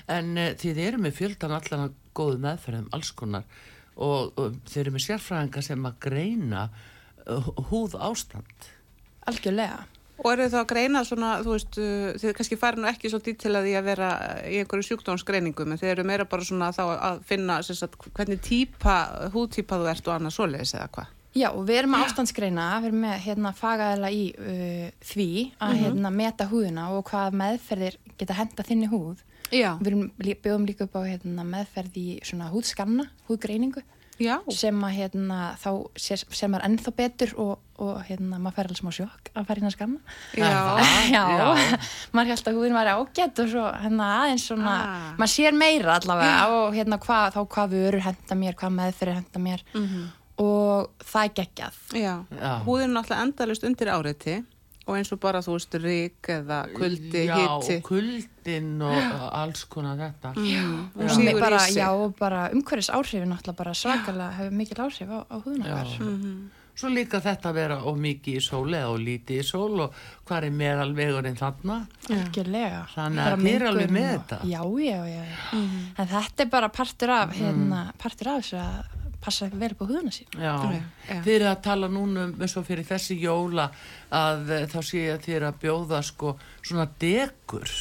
en uh, þið eru með fjöldan allan að góðu meðferðum, alls konar og, og þið eru með sérfræðinga sem að greina uh, húð ástand
Algjörlega.
Og eru þið þá að greina svona, þú veist, uh, þið kannski farin nú ekki svolítið til að því að vera í einhverju sjúkdómsgreiningum, en þið eru meira bara svona þá að finna sem sagt, hvernig típa, húðtípa þú ert og annað svoleiðis eða hvað.
Já, og við erum að ástandsgreina, við erum með hérna, fagaðela í uh, því að hérna, meta húðuna og hvað meðferðir geta henda þinni húð.
Já.
Við erum, lí- bjóðum líka upp á hérna, meðferð í svona húðskanna, húðgreiningu,
Já.
sem að hérna, þá sér, sér maður ennþá betur og, og hérna, maður fær alveg smá sjokk að fara inn að skanna.
Já.
já,
já.
maður held að húðin var ágætt og svo hérna aðeins svona,
Ah.
maður sér meira allavega og hérna hvað, þá hvað vörur henda mér, hvað meðferðir henda mér
Mhm.
og það er geggjað.
Já.
Já.
Húðin er náttúrulega endalust undir áreiti og eins og bara, þú veist, rík eða kuldi,
Já,
hiti.
kuldin og uh, alls konar þetta Já,
Hún
Og
sígur
mig
í
bara,
sig.
já, og bara umhverfis áhrifin alltaf bara svakalega hefur mikil áhrif á, á húðin okkar.
Mhm.
Svo líka þetta að vera of mikið í sól eða of lítið í sól og hvað er meðal vegurinn þarna?
Algjörlega.
Þannig að
Bara
þið eru
mengun
alveg með
og-
þetta. Mm.
Já, já, já. já.
Mhm.
En þetta er bara partur af, hérna, partur af þessu að passa vel upp á húðina sín.
Já,
Já, já.
þið eru að tala núna um eins og fyrir þessi jóla að eh, þá sé ég að þið eru að bjóða sko svona dekur.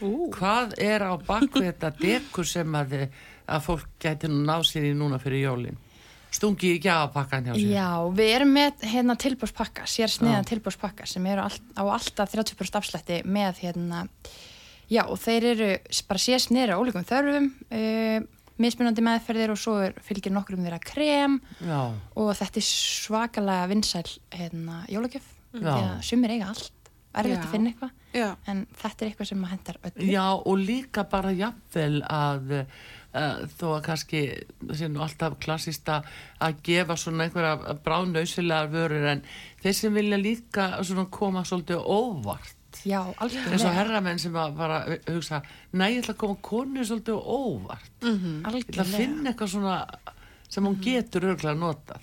Ú.
Hvað er á bakvið þetta dekur sem að, eh, að fólk gæti nú náð sér í núna fyrir jólin? Stungi í gjafapakkan hjá sér.
Já, við erum með hérna tilbúrspakka, sér sniðan tilbúrspakka sem eru all, á alltaf 30% afslætti með hérna, já og þeir eru s- bara sér sniður á ólíkum þörfum, uh, mismunandi meðferðir og svo er, fylgir nokkrum þeirra krem
Já,
og þetta er svakalega vinsæl hérna jólagjöf,
Já.
því að sumir eiga allt,
Já.
erfitt að finna eitthvað.
Já.
En þetta er eitthvað sem maður hendar öllu.
Já, og líka bara jafnvel að uh, þó að kannski sé nú alltaf klassista að gefa svona einhverja bránausilegar vörur en þeir sem vilja líka svona koma svolítið óvart
Já,
eins og
algjörlega.
herramenn sem að bara hugsa næ, ég ætla að koma konu svolítið á óvart ég ætla
Mhm.
að
Algjörlega.
finna eitthvað svona sem hún getur örgulega notað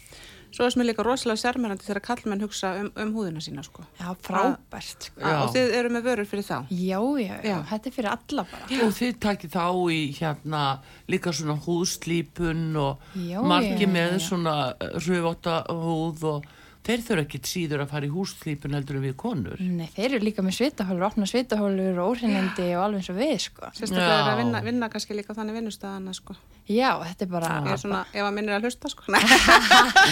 Svo er sem er líka rosalega sérmærandi þegar kallmenn hugsa um, um húðina sína, sko.
Já, frábært. Sko.
Já.
Og þið eru með vörur fyrir þá.
Já, já, já,
Já.
þetta er fyrir alla bara.
og þið takir þá í hérna líka svona húðslípun og
Já,
margi
já,
með
já, já.
svona röfóta húð og þeir þurfa ekkit síður að fara í húðslípun heldur en við konur
Nei, þeir eru líka með svitahólur, opna svitahólur og óhrinnindi og alveg eins og við, sko.
Sérstaklega er
Já.
að vinna, vinna kannski líka þannig vinnustæðana, sko.
Já, þetta er bara,
Ég er svona, ef að minn er að hlusta, sko.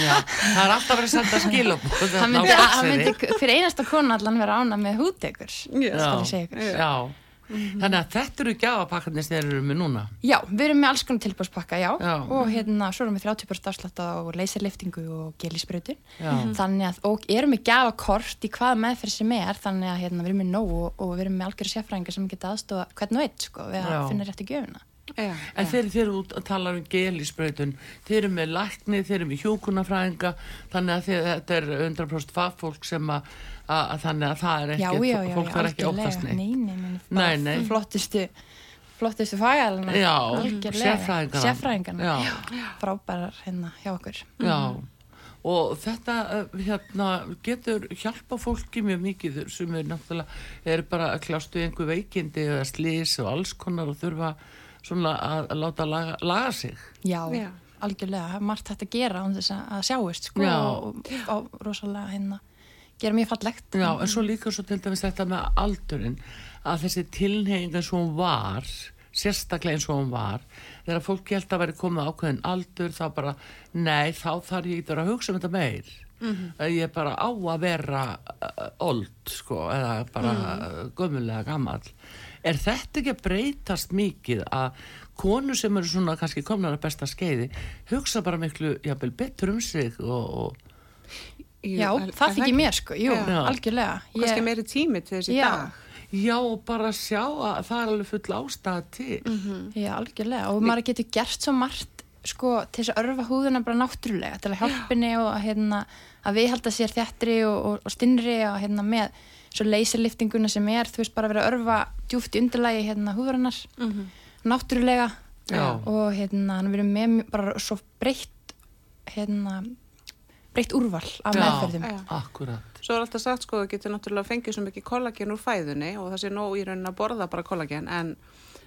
Já, það er alltaf verið að senda skilabóð
hann myndi, hann myndi fyrir einasta konu allan vera ána með hútekur,
Já.
skal ég segja ykkur. Mhm. Já.
Já, þannig að þetta eru gjafapakkarnir sem þeir eru með núna
við erum með alls konar tilbúrspakka, já,
Já.
og hérna, svo erum við 30% afslátt á leyserliftingu og gelisbrautin,
Já.
þannig að, og erum með gjafakort í hvaða meðferð sem er, þannig að, hérna, við erum með nóg og, og við erum með algjörðu sérfræðingar sem geta aðstofa hvern og eitt, sko, við að
Já.
finna réttu gjöfuna.
Já,
en
já.
þeir þeir eru út að tala um gelisbrautun þeir eru með lækni, þeir eru með hjúkunafræðinga þannig að þeir, þetta er 100% fagfólk sem að, að, að þannig að það er
já,
ekki,
já, já,
fólk
já,
þarf ekki að óttast
algjörlega.
neitt
nei, nei, nei,
Nei,
bara
nei.
flottustu flottustu fagalina
Já,
algjörlega.
sérfræðingana.
sérfræðingana
Já.
Já, frábærar hérna hjá okkur
Já, og þetta eh, hérna, getur hjálpa fólki mjög mikið sem er náttúrulega er bara að kljástu einhver veikindi eða slís og alls konar og þurfa svona að að láta laga, laga sig.
já,
Já.
algjörlega, það er margt hægt að gera án þess að að sjáist sko,
Já.
og, og rosalega hérna gera mjög fallegt
Já, en svo líka svo til dæmis þetta með aldurinn að þessi tilneying eins og hún var sérstaklega eins og hún var þegar fólk held að veri komið á ákveðin aldur þá bara, nei, þá þarf ég ekki að vera að hugsa um þetta meir mm ég bara á að vera uh, old, sko, eða bara mm. gömulega gamall er þetta ekki að breytast mikið að konur sem eru svona kannski komnar að besta skeiði hugsa bara miklu, jafnvel, betur um sig og, og
Jú,
Já,
er- er
það þykir
ekki?
mér sko, jú,
Já.
algjörlega
Kannski meiri tími til þess í
Já.
dag.
Já, og bara sjá að það er alveg full ástæða til.
Já, algjörlega og maður getur gert svo margt sko, til þess að örfa húðuna bara náttúrulega til að hjálpinni og að, hérna, að viðhalda sér þjættri og, og, og stinnri og hérna, með svo leysiliftinguna sem er þú veist bara að vera að örfa djúft í undirlægi hérna, húðurinnar náttúrulega
Já.
og hérna, hann verið með mjög- bara svo breytt hérna, breytt úrval af
Já.
meðferðum
Já.
Akkurat.
Svo er alltaf sagt sko að þú getur náttúrulega fengið svo mikið kollagen úr fæðunni og það sé nóg í raunin að borða bara kollagen en,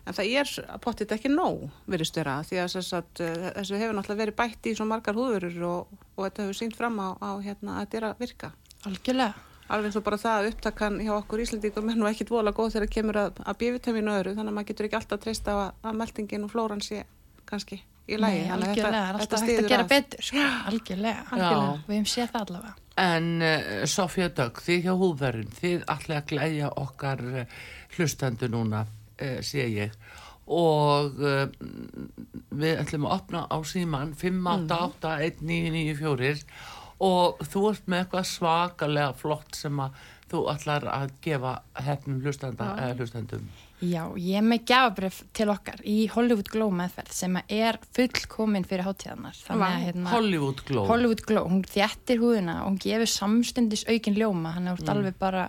en það er pottit ekki nóg virðist vera því að þess að eh, þessu hefur náttúrulega verið bætt í svo margar húðurur og, og þetta hefur sínt fram á, á hérna, að þetta er að virka.
algjörlega
Alveg eins og bara það að upptakan hjá okkur Íslandingum er nú ekkit vola góð þegar kemur að, að bívitamínu öðru þannig að maður getur ekki alltaf treyst á að, að meldingin og flóran sé kannski í lægi.
Nei, algjörlega, það er alltaf hægt að gera betur sko. algjörlega,
Algjörlega.
við hefum séð það allavega
En uh, Sofja Dögg, þið hjá húðverðin, þið ætlaði að glæja okkar uh, hlustendu núna, uh, sé ég. Og uh, við ætlum að opna á síman
Mhm.
5881994 og þú ert með eitthvað svakalega flott sem að þú ætlar að gefa hefnum hlustenda, eh, hlustendum.
Já, ég er með gjafabrif til okkar í Hollywood Glow meðferð sem að er fullkomin fyrir hátíðarnar. Þannig að hérna,
Hollywood Glow.
Hollywood Glow, hún þjættir húðina og hún gefur samstundis aukin ljóma, hann er mm. alveg bara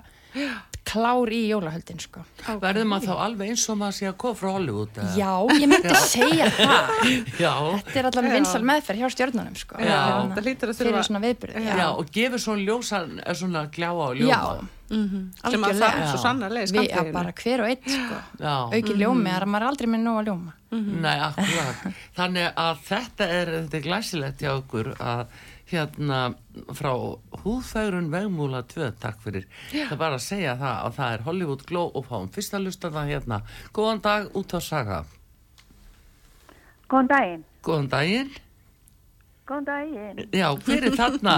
klár í jólahöldin sko.
Verður maður þá alveg eins og maður sé að koma frá Hollywood? eða?
Já, ég myndi segja það.
Já.
Þetta er allan vinsal meðferð hjá stjórnunum sko.
Já.
Það hlýtur að
Fyrir
þurfa-
svona viðbyrði.
Já, og gefur svona ljósan, eh, svona gljáa og
Já,
ljóma.
sem að
algjörlega.
það er svo sannarlega í
Við, já,
skammtíðinu.
bara hver og eitt sko.
Já.
Aukin ljómi, það er maður er aldrei með nóg að ljóma.
Nei, akkurat. Þannig að þetta er, þetta er glæsilegt hjá okkur að hérna frá húðfærun vegmúla 2, takk fyrir. Það er bara að segja það að það er Hollywood Glow og fáum fyrsta lustana hérna. Góðan dag, út á saga.
Góðan daginn.
Góðan daginn.
Góðan daginn.
Já, hver er þarna?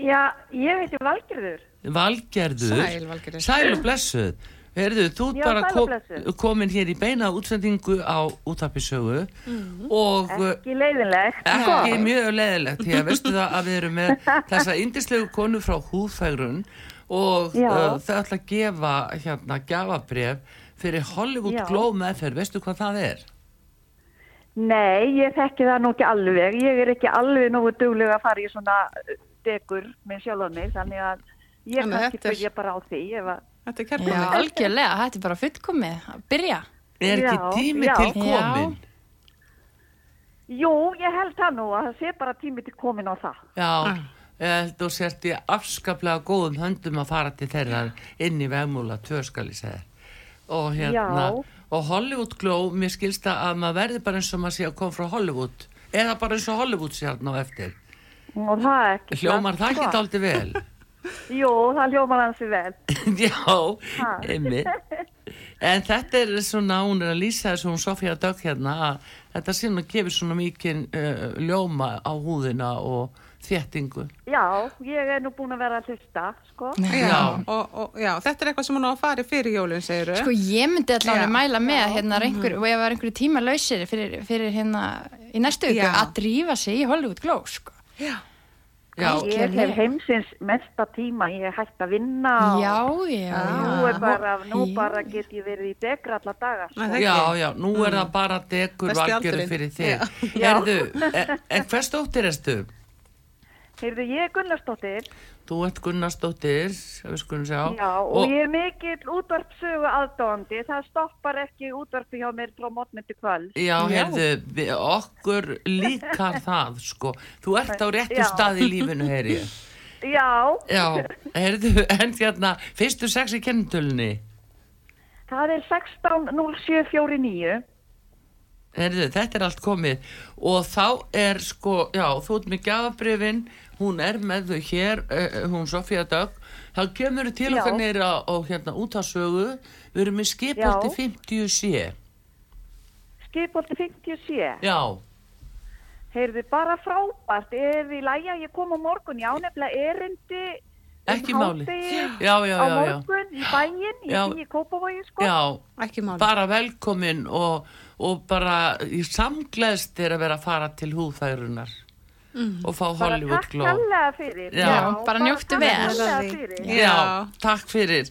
Já, ég heiti Valgerður.
Valgerður.
Sæl, Valgerður.
Sæl og blessuð. Herðu, þú ert
Já,
bara
sæl og
kom,
blessuð.
komin hér í beina útsendingu á útapisögu
Mhm.
og...
Ekki leiðinlegt.
Ekki mjög leðilegt, því að veistu það að við erum með þessa indislegu konu frá húðfægrun og
Já.
uh, þau ætla að gefa hérna gafabref fyrir Hollywood
Já.
Glow meðferð, veistu hvað það er?
Sko, Nei, ég þekki það nú ekki alveg. Ég er ekki alveg nógu dugleg að fara í svona uh, degur með sjálf mig, þannig að ég
Þannig að
kannski
þetta er-
byrja bara á því. Ef að...
Þetta er kærkomið.
Já, algjörlega, þetta er bara fullkomið að byrja.
Er ekki
Já,
tími
já.
til
Já.
komin?
Jú, ég held það nú að það sé bara tími til komin á það.
Já, ég held og sért í afskaplega góðum höndum að fara til þeirra inn í vegmúla tvöskalisæðar og hérna
Já.
og Hollywood Glow, mér skilsta að maður verði bara eins og maður sé að koma frá Hollywood eða bara eins og Hollywood sé hérna á eftir
Og það er ekki... sko.
Hljómar það ekki dálítið vel?
Jú, það hljómar hansi vel.
Já, einmitt. En þetta er svona, hún er að lýsa þessu hún Sofía Dögg hérna að þetta sinna gefur svona mikið uh, ljóma á húðina og þéttingu.
Já, ég er nú búin að vera að hlusta, sko.
Já, og, og, já, þetta er eitthvað sem hún á að fara í fyrir jólun, segir
Sko ég myndi allavega
Já.
mæla með að hérna, er einhver, og ef það er einhverju tíma lausir fyrir, fyrir hérna í næstu viku
Já.
að drífa sig í Hollywood Glow sko.
Já,
Já,
Algjörlega.
Ég hef heimsins mesta tíma, ég hef hægt að vinna og
Já, já,
nú,
já.
er bara, nú
Já.
bara get ég verið í degra alla dagar.
Nei, það-
sko.
ekki?
já, já, nú er það bara degur
Besti
valgjörðu
aldurinn.
fyrir þig.
Já.
Erðu, en, en hvers dóttir erstu?
Heyrðu, ég er Gunnarsdóttir,
Þú ert Gunnarsdóttir, við skulum sjá.
já, og, ég er mikill útvarpsögu aðdóndi, það stoppar ekki útvarpi hjá mér frá mótni til kvöld.
Já, heyrðu, við- okkur líkar það, sko. Þú ert á réttu
Já.
stað í lífinu, heyri ég.
Já,
Já, heyrðu, en hérna, fyrstu sex í kennitölunni,
það er 16.0749.
heyrðu, þetta er allt komið og þá er sko, já, þú ert með gjafabrifin, hún er með þau hér, uh, hún Sofía Dögg, þá kemur til
Já.
okkar neyri á, á hérna útasögu, við erum í skipolti 50 sé,
Skipolti 57.
já,
Heyrðu, bara frábært, ef í lægja, ég kom á morgun, já, nefnilega erindi um
Ekki máli.
hádegi
Já, já,
á
já, já.
morgun í bæinn,
Já.
ég finn í Kópavogi, sko.
já,
ekki máli
bara velkomin og, og bara í samgleðst er að vera að fara til húðfærunar og fá
Mhm. Bara
Hollywood
takk
glow.
kallega fyrir.
Já. Já,
bara njóttu
takk
vel.
kærlega
Love
fyrir.
you.
Já,
Já.
takk fyrir.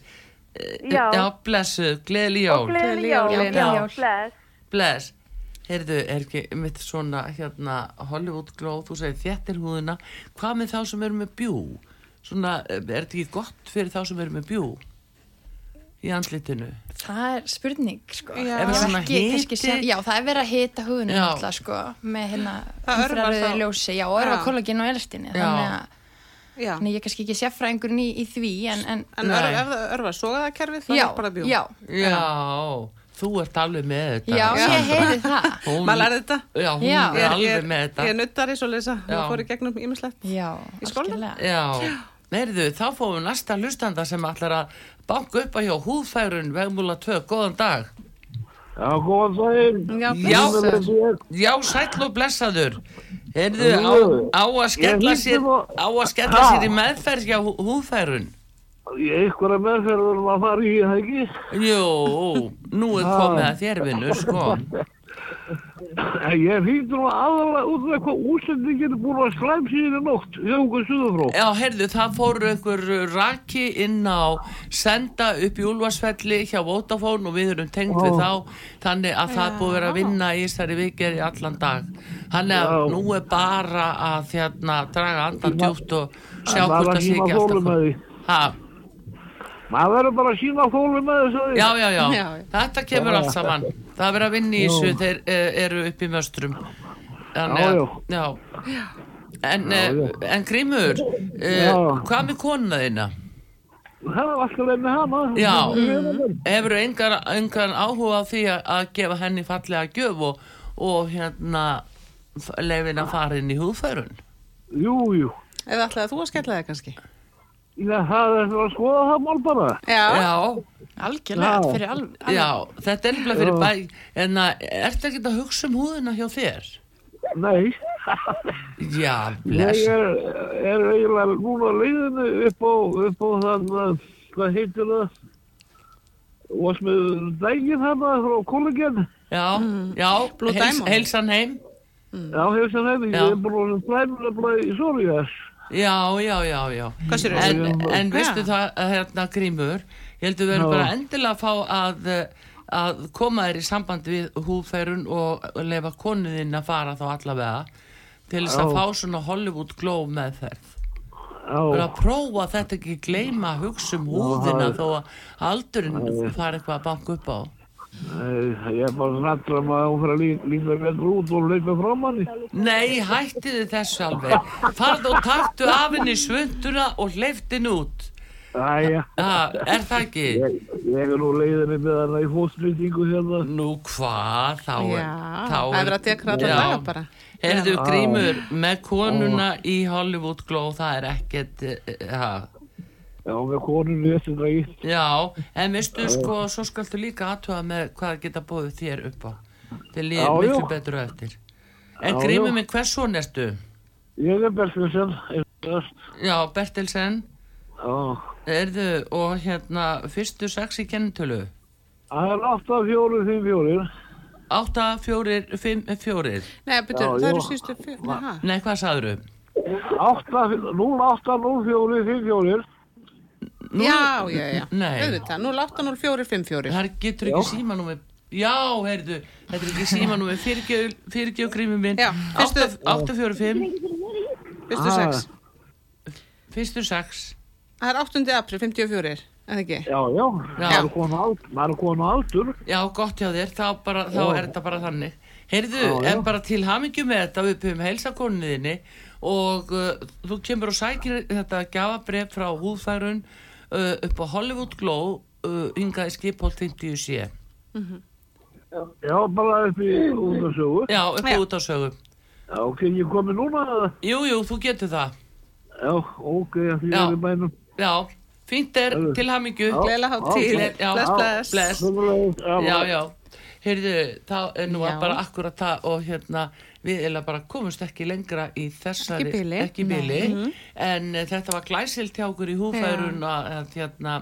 Eh,
Já.
Já, blessu, gleðli jól,
Og gleðileg
Gleðileg jól.
jól. Já, bless.
bless. Heyrðu, er ekki mitt svona hérna Hollywood glow, þú segir þéttir húðina, hvað með þá sem eru með bjú? Svona, eh, er þetta ekki gott fyrir þá sem eru með bjú í andlitinu?
Það er spurning, sko.
Já.
Ég
Ef
hef
svona
ekki kannski
hiti-
séð- já, það er verið að hita húðunum
Já.
alltaf, sko, með hérna
Það örvar
infrarauðu
þá.
ljósi, já, og örfa
Já.
kollaginn og elastinni,
Já.
þannig að
já.
þannig að ég er kannski ekki sérfræðingurinn í, í því, en, en,
en
Nei.
örf, ef það örfa sogaðakerfið það
já,
er bara bjú
já,
Já, þú ert alveg með þetta.
já,
Sandra.
ég heyri það.
Hún-
Maður lærði þetta.
Já, hún
Já.
er
Ég-
alveg með þetta.
ég er nuttari svo leysa,
Já.
ég fór í gegnum ímislegt
Já,
Í skólanum?
algjörlega.
Já, neyrðu, þá fáum við næsta hlustanda sem ætlar að banka upp að hjá húðfærun vegmúla 2, góðan dag.
Já, góðan daginn.
já,
Já.
blessuð.
Já, sæll og blessaður. Heyrðu, á,
Jú.
á að skella,
hlýt
sér,
nú að-
á að skella sér í
Ha?
meðferð hjá hú- húðfærun.
Ég eitthvað er meðferður maður fara í það ekki.
Jú, nú er komið að þér vinnu, sko.
Ég hýtti nú aðalega út með hvað útlendingin er búin að slæm síðan í nótt. Hjá okkur suðafró.
Já, heyrðu, það fór einhver raki inn á senda upp í Úlfarsfelli hjá Votafón og við erum tengd við þá þannig að það er búið að vera að vinna í þessari vikir í allan dag þannig að
Já.
nú er bara að þérna draga andan djúpt og sjá
En
hvort það
maður
sé
verður að
ekki
sýna
alltaf
þolinmæði.
ha,
Maður verður bara að sína þólu með þessu.
já, já, já,
Já.
þetta kemur allt saman það er verið að vinna í þessu þeir eh, eru upp í möstrum þannig að, já en, já, en Grímur eh,
Já.
hvað með konuna þína?
Það er alltaf leið með hana.
Já, hefur engar, engar áhuga á því að, að gefa henni fallega gjöf og, og hérna lefin að fara inn í húðfærun
Jú, jú.
eða ætlaði þú að skella það kannski
Já, það er að skoða það mál bara.
já,
Já,
Algjörlega, þetta fyrir alveg.
já, þetta er nefnilega fyrir bæ, en að, ertu ekki að hugsa um húðina hjá þér?
Nei.
Já,
Ég
bless,
er, er eiginlega núna á leiðinu upp á, upp á þann, uh, hvað heitir það? Vast með dægin hana frá kollegin.
já, já,
Blue
heils,
Diamond.
heilsan heim,
Já, hefur sem hefði,
Mm. Já.
ég er búin að slæmla bara í Sorias.
já, já, já, já.
hvað sér
En,
þú?
en veistu
Já.
það, hérna Grímur, ég heldur við erum
Já.
bara endilega að fá að, eh, að koma þér í sambandi við húðferun og lefa konuðinn að fara þá allavega til þess að
Já.
fá svona Hollywood glow meðferð. Bara
Já,
að prófa þetta ekki gleyma að hugsa um húðina þó að aldurinn fari eitthvað að banka upp á.
eh, ég er bara snattra maður að hún fyrir að lí- líta betur út og leipa fram hann.
Nei, hættiði þessu alveg. Farð og taktu af henni svönduna og hleyftin út.
Æja,
Ha, er það ekki?
ég, ég er nú á leiðinu með hana í fótslýtingu hérna.
Nú hvað, þá er...
Já,
þá
það er verið að dekra alla
Já.
daga bara.
Heyrðu, Grímur, með konuna í Hollywood Glow, það er ekkert, eh, ja,
Já, með konunni þessi dægin.
já, en veistu, sko, svo skaltu líka aðtöða með hvað það geta búið þér upp á. Þið
Já,
líður miklu
já.
betur á eftir. En
Já,
Grímur
já.
minn, hvers svo næstu?
Ég er Bertilsen, ég er
Já, Bertilsen,
Já,
heyrðu, og hérna, fyrstu sex í kennitölu.
það er 8, 4, 5, 4.
Átta, fjórir, fimm, fjórir.
nei, betur,
Já,
það
já.
eru síðustu fjör nei, ha?
Nei, hvað sagður þau?
080454
Já, já, já,
Nei.
auðvitað, 080454
Það getur ekki símanúmi Já, heyrðu, þetta er ekki símanúmi Fyrirgjöf grími minn
Já, fyrstu-
845
Ah.
fyrstu sex.
Fyrstu sex
Það er 8. april, 54, eða ekki?
Já, já,
Já.
maður er komin á aldur, maður er komin á aldur.
Já, gott hjá þér, þá, bara, þá er þetta bara þannig Heyrðu, en bara til hamingju með þetta við pöfum helsakoninniðinni og uh, þú kemur og sækir þetta gafabref frá húðfærun uh, upp á Hollywood Glow uh, yngaði skipholt 50 sé
Já, bara upp í út að sögu.
Já, upp
Já.
út á sögu
Já, ok, ég komi núna. eða?
Jú, jú, þú getur það
Já, ok, því
Já.
ég er í bænum.
Já, fínt er
Heyrðu.
til hamingju
Gleðilega hátíð.
Til- já,
Bless, bless.
bless.
Sömuleiðis,
Já, já, heyrðu, þá er nú
Já.
bara akkurat það og hérna við erum bara komumst ekki lengra í þessari,
Ekki í bili.
ekki bili.
Mhm.
en uh, þetta var glæsilt hjá okkur í húfærun að, að hérna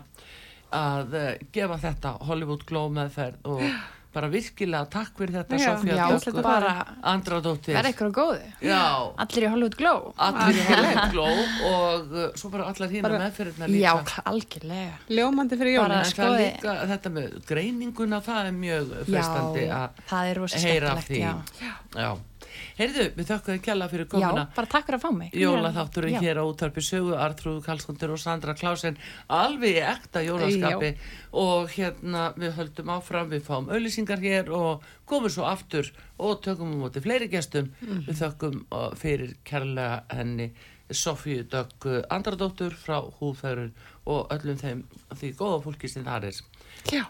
að uh, gefa þetta Hollywood Glow meðferð og bara virkilega takk fyrir þetta
Já.
Sofía
Já,
Dögg og
bara-
Andradóttir
verða ykkur á góðu
Já,
allir í Hollywood Glow
allir í Hollywood Glow og uh, svo bara allar hérna meðferðina
já,
líka
kl- algjörlega
Ljómandi fyrir jólun.
Bara-
En
sko,
það
skoði-
líka, þetta með greininguna, það er mjög freistandi
já,
að
það er rosa
heyra af
skemmtilegt
því.
já.
Já. Heyrðu, við þökkum þið kjalla fyrir
já,
komuna.
bara takk fyrir að fá mig
Jólaþátturinn
Já.
hér á útarpi sögu, Artrúðu Karlskundur og Sandra Klásen, alveg í ekta jólaskapi og hérna við höldum áfram, við fáum auðlýsingar hér og komum svo aftur og tökum um móti fleiri gestum.
Mhm.
Við þökkum uh, fyrir kjærlega henni Sofíu Dögg uh, Andradóttur frá Húfærun og öllum þeim því góða fólki sem það er.
Já.